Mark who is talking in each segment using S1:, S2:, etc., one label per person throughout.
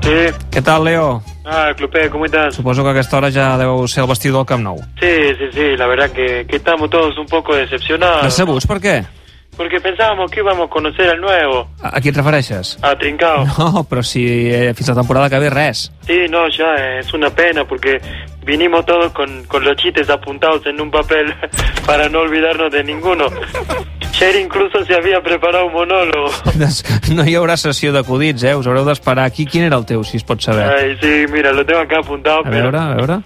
S1: Què tal, Leo?
S2: Ah, Clupe, ¿cómo estás?
S1: Suposo que a aquesta hora ja deu ser el vestidor del Camp Nou.
S2: Sí, sí, sí, la verdad que, que estamos todos un poco decepcionados.
S1: Decebuts, per què?
S2: Porque pensábamos que íbamos a conocer al nuevo,
S1: A, a qui et refereixes?
S2: a Trincao.
S1: No, però si eh, fins la temporada que ve res.
S2: Sí, no, ya eh, es una pena porque vinimos todos con, con los chistes apuntados en un papel para no olvidarnos de ninguno. Cher incluso se había preparado un monólogo.
S1: Des- No hi haurà sessió d'acudits, eh? Us haureu d'esperar aquí. Quin era el teu, si es pot saber?
S2: Ay, sí, mira, lo tengo acá apuntado,
S1: A
S2: pero...
S1: veure, a veure...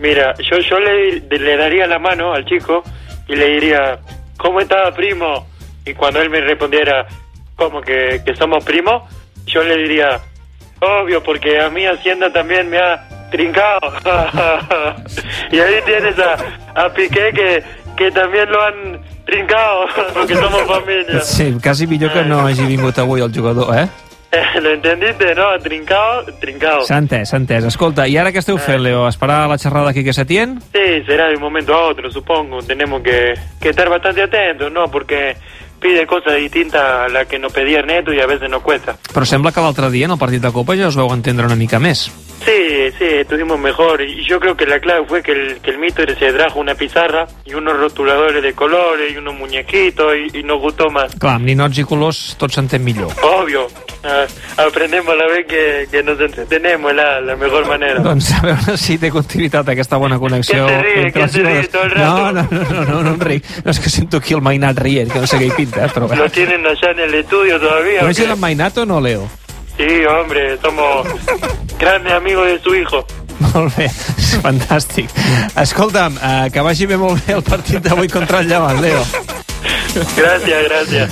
S2: Mira, yo, yo le, le daría la mano al chico y le diría, ¿cómo estás, primo? Y cuando él me respondiera, ¿cómo que, que somos primos? Yo le diría, obvio, porque a mí Hacienda también me ha trincado. y ahí tienes a, a Piqué que, que también lo han trincado, porque somos familia.
S1: Sí, quasi millor que no hagi vingut avui el jugador, eh?
S2: ¿Lo entendiste, no? Trincado, trincado.
S1: S'ha entès, s'ha entès. Escolta, i ara què esteu fent, Leo? Esperar la xerrada aquí que Setién?
S2: Sí, será de un momento a otro, supongo. Tenemos que, que estar bastante atentos, ¿no? Porque pide cosas distintas a las que nos pedía Ernesto y a veces nos cuesta.
S1: Però sembla que l'altre dia, en el partit de Copa, ja us veu entendre una mica més.
S2: Sí, sí, estuvimos mejor. Y yo creo que la clave fue que el, que el Mister se trajo una pizarra y unos rotuladores de colores y unos muñequitos y, y nos gustó más.
S1: Clar, amb ninots i colors tot s'entén millor.
S2: Obvio, ah, aprendemos a la vez que, que nos entretenemos, la, la mejor manera.
S1: Doncs a veure si té continuïtat aquesta bona connexió.
S2: Que se ríe,
S1: entre
S2: que
S1: els
S2: se ríe
S1: jugadors.
S2: todo el
S1: no,
S2: rato.
S1: no, no, no, no, no em ric. No, és que sento aquí el mainat rient, que no sé què hi pinta, eh, però bé.
S2: Lo tienen allá en el estudio todavía.
S1: ¿No
S2: ¿o qué?
S1: és el mainat o no, Leo?
S2: Sí, hombre, somos grandes amigos de su hijo.
S1: Molt bé, és fantàstic. Escolta'm, eh, que vagi bé molt bé el partit d'avui contra el Llevant, Leo.
S2: Gracias, gracias.